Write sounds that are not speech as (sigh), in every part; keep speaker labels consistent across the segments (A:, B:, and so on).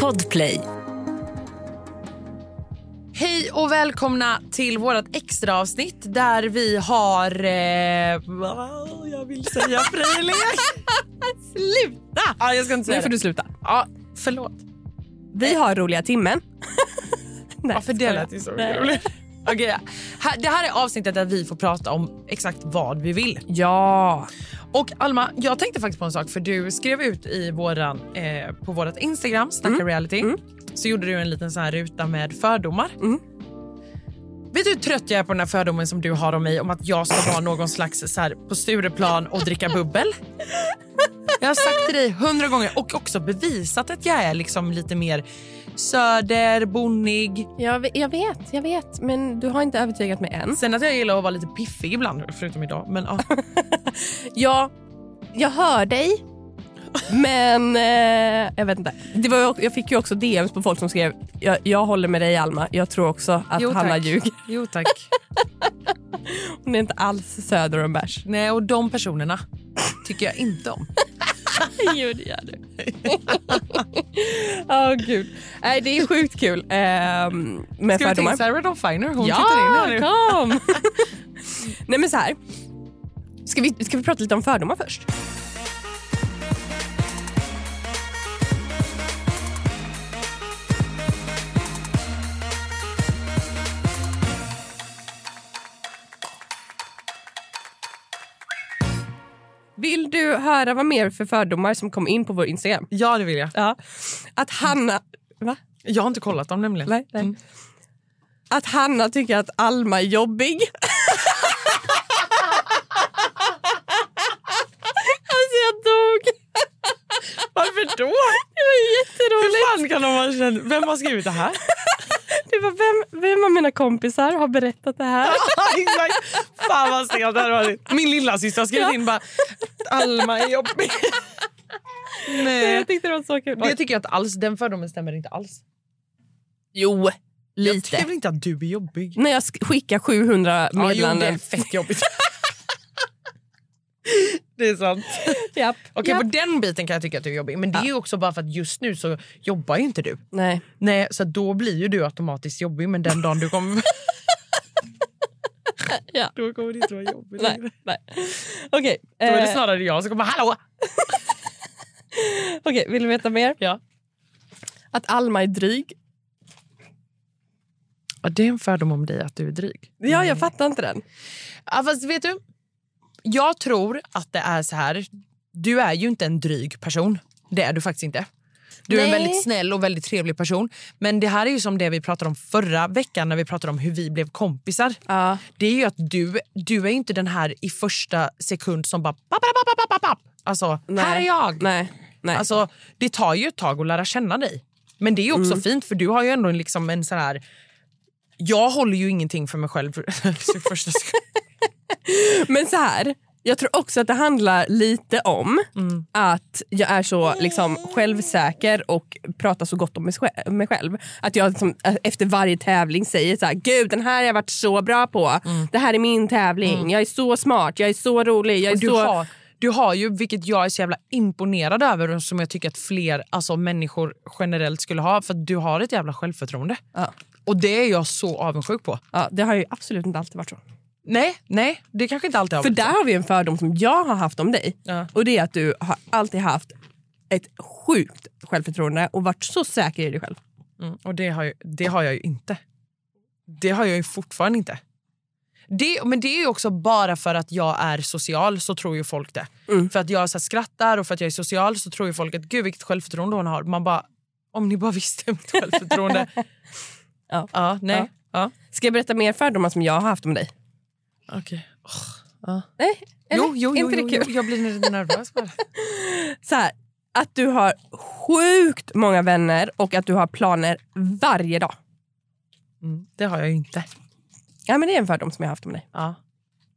A: Podplay.
B: Hej och välkomna till vårt extra avsnitt där vi har... Eh, vad jag vill säga frilek. (laughs)
C: Sluta!
B: ja, jag ska inte säga
C: Nu får
B: det.
C: du sluta.
B: Ja, förlåt.
C: Vi har roliga timmen. Nej,
B: (laughs) Ja, för det
C: skojar.
B: lät ju så
C: Nej.
B: roligt. (laughs) Okej, ja. Här- det här är avsnittet där vi får prata om exakt vad vi vill.
C: Ja.
B: Och Alma, jag tänkte faktiskt på en sak. För Du skrev ut i våran, eh, på vårt Instagram, Snacka reality, så gjorde du en liten sån här ruta med fördomar.
C: Mm.
B: Vet du hur trött jag är på den här fördomen som du har om mig om att jag ska vara någon slags så här, på Stureplan och dricka (laughs) bubbel? Jag har sagt till dig hundra gånger och också bevisat att jag är liksom lite mer söder, bonnig.
C: Jag, ve- jag vet, jag vet. Men du har inte övertygat mig än.
B: Sen att jag gillar att vara lite piffig ibland, förutom idag.
C: (laughs)
B: Men, ja.
C: Ja, jag hör dig. Men eh, jag vet inte. Det var, ju också- jag fick ju också DMs på folk som skrev jag, jag håller med dig Alma. Jag tror också att
B: Jo,
C: Hanna (laughs)
B: tack.
C: ljuger.
B: Jo tack.
C: Hon är inte alls söder om
B: (laughs)
C: bärs.
B: Nej, och de personerna tycker jag inte om.
C: jo, det gör (laughs) du. Åh gud. Nej, det är sjukt kul eh, med
B: Ska vi
C: fördomar.
B: till Sarah Dawn Finer? Hon
C: ja,
B: tittar in här nu.
C: kom! Nej men så här. Ska vi, ska vi prata lite om fördomar först? Vill du höra vad mer för fördomar som kom in på vår Instagram?
B: (laughs) Ja, det vill jag.
C: Ja. Att Hanna... Va?
B: Jag har inte kollat dem nämligen.
C: Nej, nej.
B: Mm.
C: Att Hanna tycker att Alma är jobbig. alltså jag dog.
B: Varför då?
C: Det var jätteroligt.
B: Hur fan kan de ha känt? Vem har skrivit det här? (laughs)
C: Det var vem, vem av mina kompisar har berättat det här?
B: Exakt. Fan vad stelt det här var. Min lilla syster har skrivit
C: Ja.
B: in bara Alma är jobbig. Nej.
C: jag tyckte det var så kul.
B: Det tycker jag inte alls. Den fördomen stämmer inte alls.
C: jo,
B: Jag tycker väl inte att du är jobbig?
C: När jag sk- skickar 700
B: Ja, jo, det
C: meddelanden.
B: är fett jobbigt. (laughs) det är sant.
C: Japp.
B: Okej,
C: Japp.
B: på den biten kan jag tycka att du är jobbig. Men det är ju också bara för att just nu så jobbar ju inte du.
C: Nej.
B: Nej, så då blir ju du automatiskt jobbig. Men den dagen du (laughs) kommer...
C: Ja.
B: Då kommer det inte vara jobbigt
C: Nej.
B: längre.
C: Nej. Okej,
B: Mm. Då är det
C: eh,
B: snarare jag som kommer “hallå!”
C: okej, vill du veta mer?
B: ja.
C: Att Alma är dryg.
B: Det är en fördom om dig att du är dryg.
C: Ja, jag fattar inte den.
B: Ja, fast vet du? Jag tror att det är så här. Du är ju inte en dryg person. Det är du faktiskt inte. Du är en
C: Nej.
B: väldigt snäll och väldigt trevlig person. Men det här är ju som det vi pratade om förra veckan när vi pratade om hur vi blev kompisar.
C: Ja.
B: Det är ju att du, du är ju inte den här i första sekund som bara... Papp, papp, papp, papp, papp, papp. Alltså,
C: Nej.
B: här är jag!
C: Nej. Nej.
B: Alltså, det tar ju ett tag att lära känna dig. Men det är ju
C: Mm.
B: också fint för du har ju ändå en liksom en sån här... Jag håller ju ingenting för mig själv. (laughs) för första sekund.
C: Men så här, jag tror också att det handlar lite om
B: Mm.
C: att jag är så liksom, självsäker och pratar så gott om mig sj- mig själv. Att jag liksom, efter varje tävling säger så här, gud den här har jag varit så bra på.
B: Mm.
C: Det här är min tävling. Jag är så smart, jag är så rolig. Jag är
B: Och du,
C: så...
B: har, du har ju, vilket jag är så jävla imponerad över och som jag tycker att fler alltså, människor generellt skulle ha, för att du har ett jävla självförtroende.
C: Ja.
B: Och det är jag så avundsjuk på.
C: Ja, det har ju absolut inte alltid varit så.
B: Nej, nej, det kanske inte alltid har
C: För
B: varit så.
C: där har vi en fördom som jag har haft om dig.
B: Ja.
C: Och det är att du har alltid haft ett sjukt självförtroende och varit så säker i dig själv.
B: Mm, och det har, ju, det har jag ju inte. Det har jag ju fortfarande inte. Det, men det är ju också bara för att jag är social så tror ju folk det. För att jag så här skrattar och för att jag är social så tror ju folk att gud vilket självförtroende hon har. Man bara, om ni bara visste mitt självförtroende.
C: Ja.
B: (laughs) ja, nej. Ja.
C: Ska jag berätta mer fördomar som jag har haft om dig?
B: Okej.
C: Nej, eller?
B: Jo, jo,
C: Är
B: jo,
C: inte
B: jo,
C: det
B: jo,
C: kul?
B: jag blir lite nervös bara.
C: Så här, att du har sjukt många vänner och att du har planer varje dag.
B: Mm, det har jag ju inte.
C: Ja, men det är en fördom som jag har haft om dig.
B: Ja.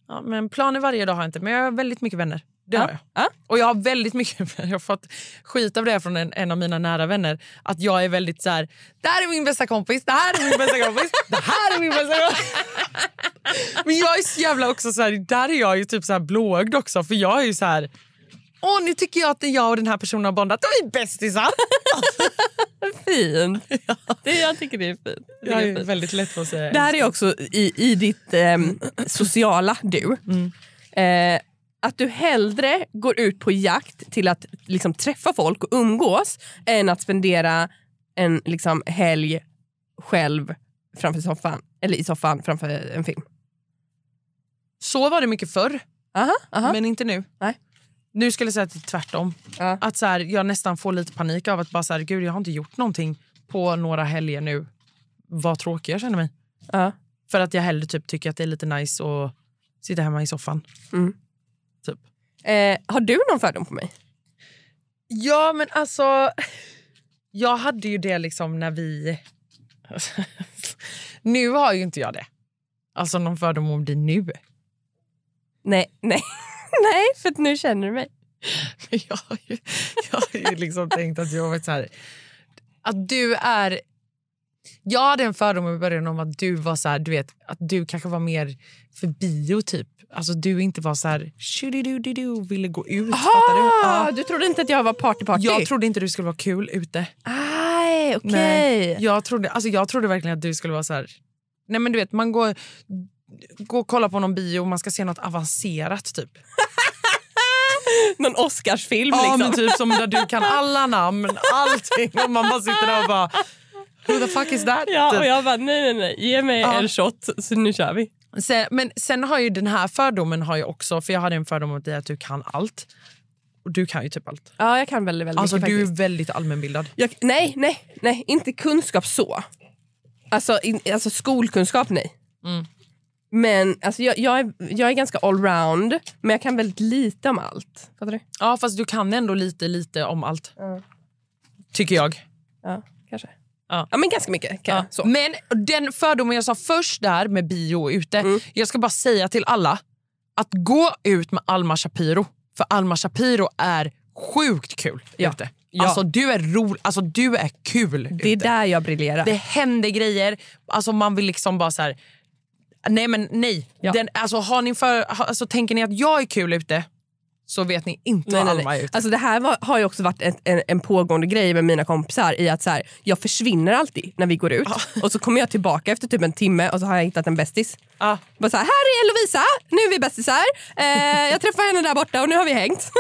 B: Ja, men planer varje dag har jag inte, men jag har väldigt mycket vänner. Det har jag.
C: Ja.
B: Och jag har väldigt mycket, (laughs) jag har fått skit av det här från en, en av mina nära vänner. Att jag är väldigt så här, det här är min bästa kompis, det här är min bästa kompis, det här är min bästa kompis. (laughs) Men jag är så jävla också så här, där är jag ju typ så här blåögd också. För jag är ju så här, Åh, nu tycker jag att jag och den här personen har bondat. Då är vi bästisar! (laughs)
C: Fint. Det, jag tycker det är fint. Jag tycker
B: Jag
C: det är
B: är
C: fint.
B: väldigt lätt för att säga
C: Det här är också i, i ditt ehm, sociala du.
B: Mm.
C: Eh, att du hellre går ut på jakt till att liksom, träffa folk och umgås än att spendera en liksom, helg själv framför soffan, eller i soffan framför en film.
B: Så var det mycket förr,
C: Aha, aha.
B: men inte nu.
C: Nej.
B: Nu skulle jag säga att det är tvärtom.
C: Ja.
B: Att så här, jag nästan får lite panik av att bara så här, gud jag har inte gjort någonting på några helger nu. Vad tråkig jag känner mig.
C: ja.
B: För att jag hellre typ tycker att det är lite nice att sitta hemma i soffan.
C: Mm.
B: Typ.
C: Eh, har du någon fördom på mig?
B: Ja, men alltså... (laughs) Jag hade ju det liksom när vi... (laughs) nu har ju inte jag det. Alltså någon fördom om det nu.
C: Nej, nej. (laughs) nej, för att nu känner du mig.
B: (laughs) jag har ju, jag har ju liksom tänkt att jag har varit så här... Att du är... Jag hade en fördom i början om att du var så här, du vet, att du kanske var mer för bio typ. Alltså du inte var så här, "Tjodidididu", ville gå ut. Fattar du? Ja.
C: Ah, du trodde inte att jag var partyparty?
B: Jag trodde inte du skulle vara kul ute.
C: Aj, okej.
B: Nej. Jag trodde, alltså jag trodde verkligen att du skulle vara så här... Nej men du vet, man går, går och kollar på någon bio och man ska se något avancerat typ.
C: (laughs) Någon Oscarsfilm
B: Ja
C: liksom.
B: men typ som där du kan alla namn, allting och man bara sitter där och bara Who the fuck is that?
C: Ja,
B: Typ.
C: och jag bara nej, nej, nej. Ge mig
B: Ja.
C: en shot så nu kör vi.
B: Sen, men sen har ju den här fördomen har jag också, för jag hade en fördom om dig att du kan allt. Och du kan ju typ allt.
C: Ja, jag kan väldigt, väldigt
B: Alltså
C: mycket
B: du är
C: faktiskt.
B: väldigt allmänbildad.
C: Jag, nej, nej, nej. Inte kunskap så. Alltså, in, alltså skolkunskap, nej.
B: Mm.
C: Men alltså, jag, jag, är, jag är ganska allround, men jag kan väldigt lite om allt. Fattar du?
B: Ja fast du kan ändå lite lite om allt.
C: Ja.
B: Tycker jag.
C: Ja, kanske.
B: Ja.
C: Ja, men ganska mycket. Kan
B: Ja.
C: jag, så.
B: Men den fördomen jag sa först där med bio och ute.
C: Mm.
B: Jag ska bara säga till alla att gå ut med Alma Shapiro. För Alma Shapiro är sjukt kul
C: Ja.
B: ute.
C: Ja.
B: Alltså du är rolig, alltså du är kul
C: Det är
B: ute.
C: där jag briljerar.
B: Det händer grejer, alltså man vill liksom bara så här. Nej men nej.
C: Ja.
B: Den, alltså, har ni för, ha- alltså, tänker ni att jag är kul ute så vet ni inte
C: Nej,
B: vad
C: nej,
B: Alma är
C: nej.
B: ute.
C: Alltså, det här var, har ju också varit ett, en, en pågående grej med mina kompisar. i att så här, Jag försvinner alltid när vi går ut. Och så kommer jag tillbaka efter typ en timme och så har jag hittat en bästis.
B: Ja.
C: Bara så här, här är Lovisa, nu är vi bästisar. Eh, jag träffade henne där borta och nu har vi hängt.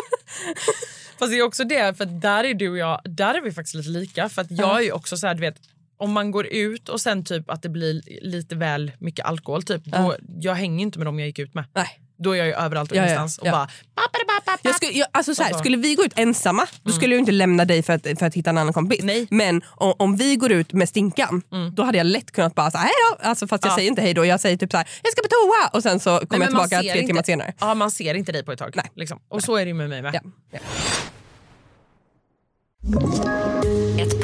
B: Fast det är också det, för att där är du och jag, där är vi faktiskt lite lika. För att jag är ju också så här, du vet, om man går ut och sen typ att det blir lite väl mycket alkohol, typ, då, jag hänger ju inte med dem jag gick ut med.
C: Nej.
B: Då är jag ju överallt och
C: Ja, ja,
B: ingenstans och
C: ja.
B: bara... "Paparapapapa."
C: Jag skulle, jag, alltså Mm. så här,
B: Alltså.
C: skulle vi gå ut ensamma, då skulle jag ju inte lämna dig för att, för att hitta en annan kompis.
B: Nej.
C: Men o- om vi går ut med Stinkan, då hade jag lätt kunnat bara säga hej då. Alltså, fast jag
B: Ja.
C: säger inte hej då, jag säger typ så här, jag ska på toa och sen så kommer
B: Nej,
C: jag
B: men man
C: tillbaka
B: ser
C: tre
B: inte-
C: timmar senare.
B: Ja, man ser inte dig på ett tag.
C: Nej.
B: Liksom. Och så är det ju med mig med.
C: Ja. Ja.
A: Ett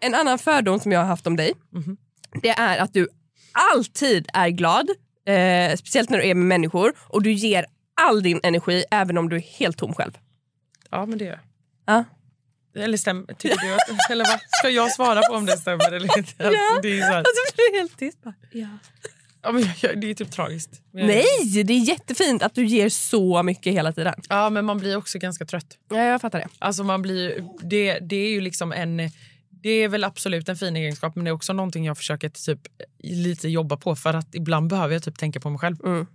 C: En annan fördom som jag har haft om dig det är att du alltid är glad, eh, speciellt när du är med människor och du ger all din energi även om du är helt tom själv.
B: Ja, men det gör
C: Ja.
B: jag. Eller stäm, tycker du att, eller vad? Ska jag svara på om det stämmer eller inte? Alltså, det, är ju så här,
C: Och så blir du helt tyst. Bara,
B: ja, men jag- jag, det är ju typ tragiskt. Men-
C: Nej, det är jättefint att du ger så mycket hela tiden.
B: Ja, men man blir också ganska trött.
C: Ja, jag fattar det.
B: Alltså man blir, ju- det, det är ju liksom en... Det är väl absolut en fin egenskap men det är också någonting jag försöker typ, lite jobba på för att ibland behöver jag typ tänka på mig själv.
C: Mm.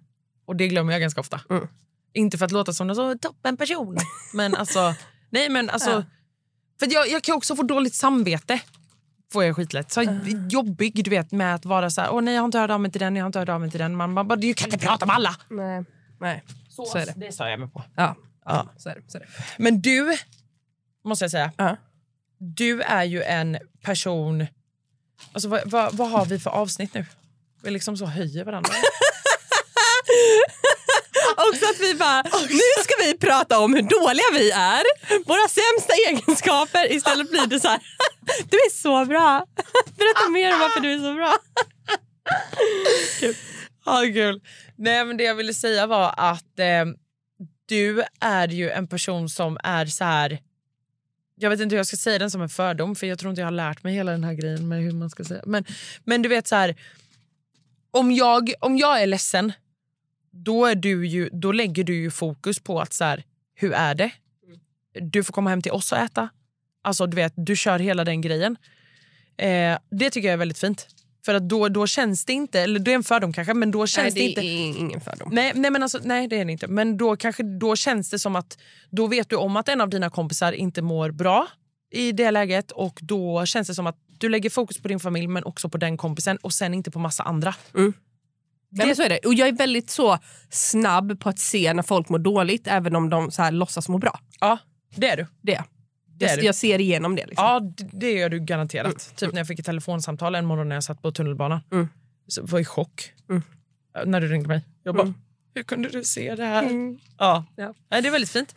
B: Och det glömmer jag ganska ofta.
C: Mm.
B: Inte för att låta som en så toppen person. men alltså, nej men alltså...
C: Ja.
B: För att jag, jag kan också få dåligt samvete. Får jag skitlätt. Så jobbig du vet med att vara så här, åh nej jag har inte hört av mig till den, jag har inte hört av mig till den. Man bara, du kan inte prata med alla.
C: Nej, Nej. Så, är det.
B: det stör jag mig på.
C: Ja.
B: Ja.
C: Så är det, så är det.
B: Men du, måste jag säga.
C: Ja.
B: Du är ju en person... Alltså, vad, vad, vad har vi för avsnitt nu? Vi liksom så höjer varandra.
C: också att vi bara, nu ska vi prata om hur dåliga vi är, våra sämsta egenskaper. Istället blir det så här, (laughs) du är så bra. (laughs) Berätta mer om varför du är så bra.
B: Ja, kul. Nej, men det jag ville säga var att eh, du är ju en person som är så här... Jag vet inte hur jag ska säga den som en fördom, för jag tror inte jag har lärt mig hela den här grejen med hur man ska säga. Men, men du vet så här... Om jag, om jag är ledsen, då, är du ju, då lägger du ju fokus på att så här, hur är det? Du får komma hem till oss och äta. Alltså du vet, du kör hela den grejen. Eh, det tycker jag är väldigt fint. För att då, då känns det inte, eller det är en fördom kanske, men då känns det inte...
C: är ingen fördom.
B: Nej, nej, men alltså, nej, det är det inte. Men då, kanske, då känns det som att då vet du om att en av dina kompisar inte mår bra i det läget och då känns det som att du lägger fokus på din familj men också på den kompisen och sen inte på massa andra.
C: Mm. Nej, men så är det. Och jag är väldigt så snabb på att se när folk mår dåligt även om de så här låtsas må bra.
B: Ja, det är du.
C: Det. är
B: Det är
C: jag.
B: du.
C: Jag, jag ser igenom det. Liksom.
B: Ja, d- det gör du garanterat. Typ när jag fick ett telefonsamtal en morgon när jag satt på tunnelbanan.
C: Mm.
B: Så var jag i chock Äh, när du ringde mig. Jag bara, hur kunde du se det här? Ja.
C: Mm. Ja.
B: Nej, det är väldigt fint.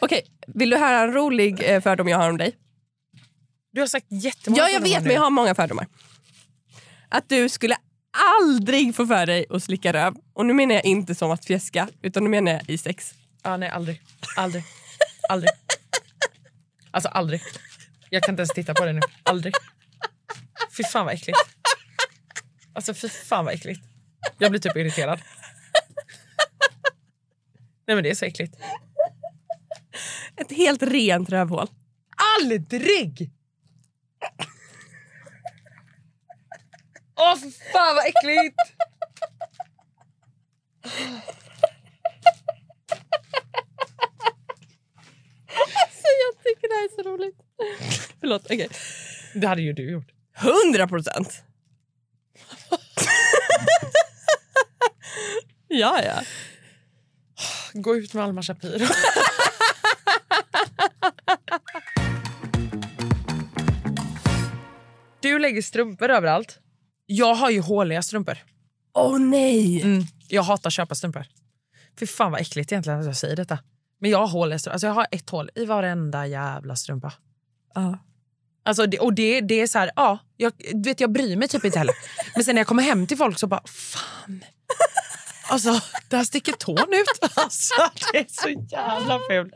C: Okej, vill du höra en rolig eh, fördom jag har om dig?
B: Du har sagt jättemånga
C: Ja, jag
B: fördomar
C: vet,
B: nu.
C: men jag har många fördomar. Att du skulle aldrig få för dig att slicka röv. Och nu menar jag inte som att fjäska, utan nu menar jag i sex.
B: Ja, nej, aldrig. Aldrig. Aldrig. Alltså aldrig. Jag kan inte ens titta på det nu. Aldrig. Fy fan vad äckligt. Alltså fy fan vad äckligt. Jag blir typ irriterad. Nej men det är så äckligt.
C: Ett helt rent rövhål.
B: Aldrig! Åh fy fan vad äckligt! Alltså,
C: Jag tycker det här är så roligt. Förlåt, okej.
B: Det hade ju du gjort.
C: 100
B: (laughs)
C: procent! ja, ja.
B: Gå ut med Alma Shapiro. Du lägger strumpor överallt. Jag har ju håliga strumpor.
C: Åh nej!
B: Jag hatar att köpa strumpor. Fy fan vad äckligt egentligen att jag säger detta. Men jag har håliga strumpor. Alltså jag har ett hål i varenda jävla strumpa.
C: Ja.
B: Alltså det, och det, det är så här, ja, jag, du vet, jag bryr mig typ inte heller. Men sen när jag kommer hem till folk så bara, fan. Alltså, där sticker tån ut. Alltså, det är så jävla fult.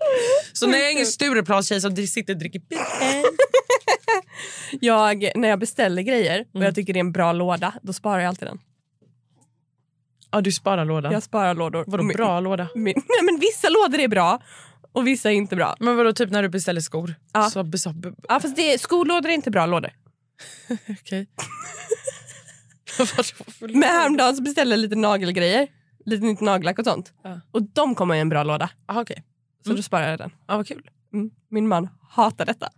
B: Så när jag är ingen Stureplanstjej som sitter och dricker pite.
C: Jag, när jag beställer grejer och
B: Mm.
C: jag tycker det är en bra låda, då sparar jag alltid den.
B: Ja, du sparar lådan.
C: Jag sparar lådor.
B: Vadå
C: Min-
B: bra låda?
C: Min, (laughs) nej, men vissa lådor är bra och vissa är inte bra.
B: Men vadå, typ när du beställer skor?
C: Ja.
B: Så, så, b- b-
C: Ja, fast det, skolådor är inte bra lådor.
B: Okej. Vadå för låda?
C: Men häromdagen så beställde jag lite nagelgrejer. Lite nytt nagellack och sånt.
B: Ja.
C: Och de kommer i en bra låda.
B: Ah, Okej,
C: Så då sparar jag den.
B: ah, vad kul.
C: Mm. Min man hatar detta.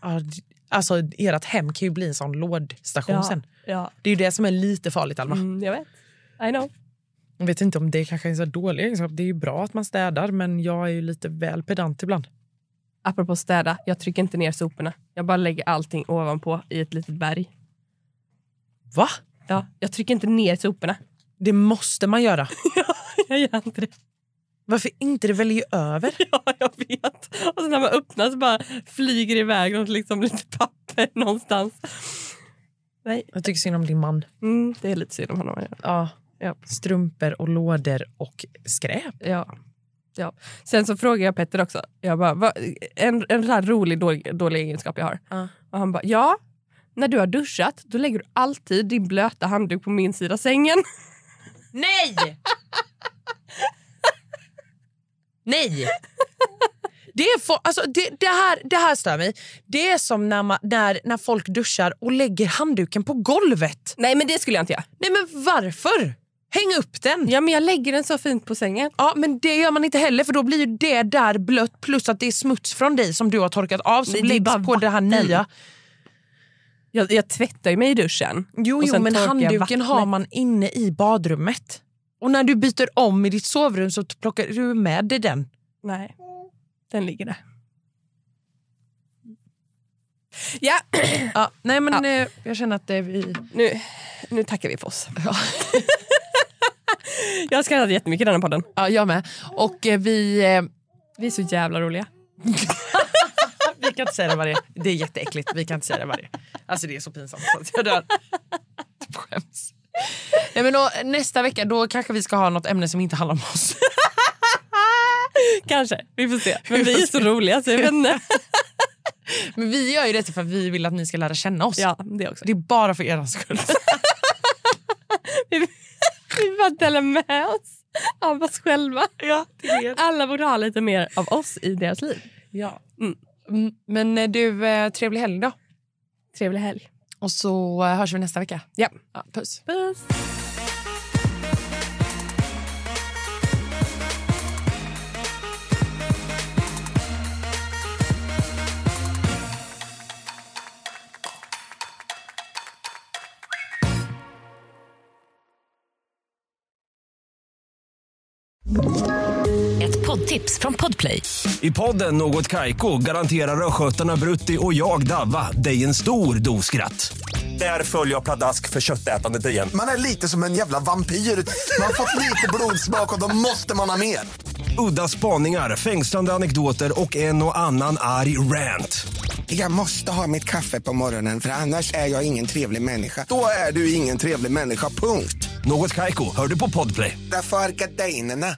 B: Ah, d- alltså, ert hem kan ju bli en sån lådstation sen.
C: ja.
B: Det är ju det som är lite farligt, Alma.
C: Mm, jag vet. I know.
B: Jag vet inte om det kanske är en så dålig egenskap. Det är ju bra att man städar, men jag är ju lite väl pedant ibland.
C: Apropå städa, jag trycker inte ner soporna. Jag bara lägger allting ovanpå i ett litet berg.
B: Va?
C: Ja, jag trycker inte ner soporna. (laughs)
B: Det måste man göra.
C: Jag gör inte det. (laughs)
B: Varför inte? Det väljer ju över.
C: Ja, jag vet. Och sen när man öppnar så bara flyger det iväg något, liksom, lite papper någonstans. Nej,
B: Jag tycker synd om din man.
C: Mm, det är lite synd om honom. Ja.
B: Ja.
C: Ja.
B: Strumpor och lådor och skräp.
C: Ja. Ja. Sen så frågade jag Petter också. Jag bara, "Va- en, en sån här rolig dålig, dålig egenskap jag har.
B: Ja.
C: Och han bara, ja. När du har duschat då lägger du alltid din blöta handduk på min sida sängen. (laughs)
A: (laughs)
B: Nej! Nej! Det, är få, alltså det, det, här, det här stör mig. Det är som när, man, när, när folk duschar och lägger handduken på golvet.
C: Nej men det skulle jag inte göra.
B: Nej men varför? Häng upp den!
C: Ja men jag lägger den så fint på sängen.
B: Ja, men det gör man inte heller för då blir ju det där blött plus att det är smuts från dig som du har torkat av som
C: Nej, det är
B: läggs
C: bara
B: på det här nya.
C: Jag, jag tvättar ju mig i duschen.
B: Jo,
C: Och
B: jo
C: sen
B: men
C: torkar jag
B: handduken
C: vattnet.
B: har man inne i badrummet. Och när du byter om i ditt sovrum så plockar du med dig den.
C: Nej, den ligger där. Ja,
B: Ja, nej men eh, jag känner att det är vi...
C: nu, nu tackar vi för oss. (laughs) Jag har skrattat jättemycket i den här podden.
D: Ja, jag med. Och eh, vi... eh, Vi är så jävla roliga.
B: Vi kan inte säga det varje. Det är jätteäckligt. Vi kan inte säga det varje. Alltså det är så pinsamt så att jag dör.
D: (laughs) Skäms. Nej, men då, nästa vecka då kanske vi ska ha något ämne som inte handlar om
B: (laughs)
D: oss.
C: Kanske, vi får se. Men vi är så roliga så jag vet
B: (laughs)
C: inte.
D: Men vi gör ju detta för att vi vill att ni ska lära känna oss.
C: Ja, det också.
D: Det är bara för er skull.
C: Vi bara delar med oss av oss själva. Alla borde ha lite mer av oss i deras liv.
D: Ja. Mm. Men eh, du, eh, trevlig helg då.
C: Trevlig helg.
D: Och så eh, hörs vi nästa vecka.
C: Ja.
D: Ja, puss.
C: Puss!
A: Ett poddtips från Podplay.
E: I podden Något Kaiko garanterar östgötarna Brutti och jag, Davva, dig en stor dos skratt. Där följer jag pladask för köttätandet igen.
F: Man är lite som en jävla vampyr. Man har fått lite blodsmak och då måste man ha mer.
E: Udda spaningar, fängslande anekdoter och en och annan arg rant.
F: Jag måste ha mitt kaffe på morgonen för annars är jag ingen trevlig människa. Då är du ingen trevlig människa, punkt.
E: Något Kaiko, hör du på Podplay.
F: Därför arkadeinerna.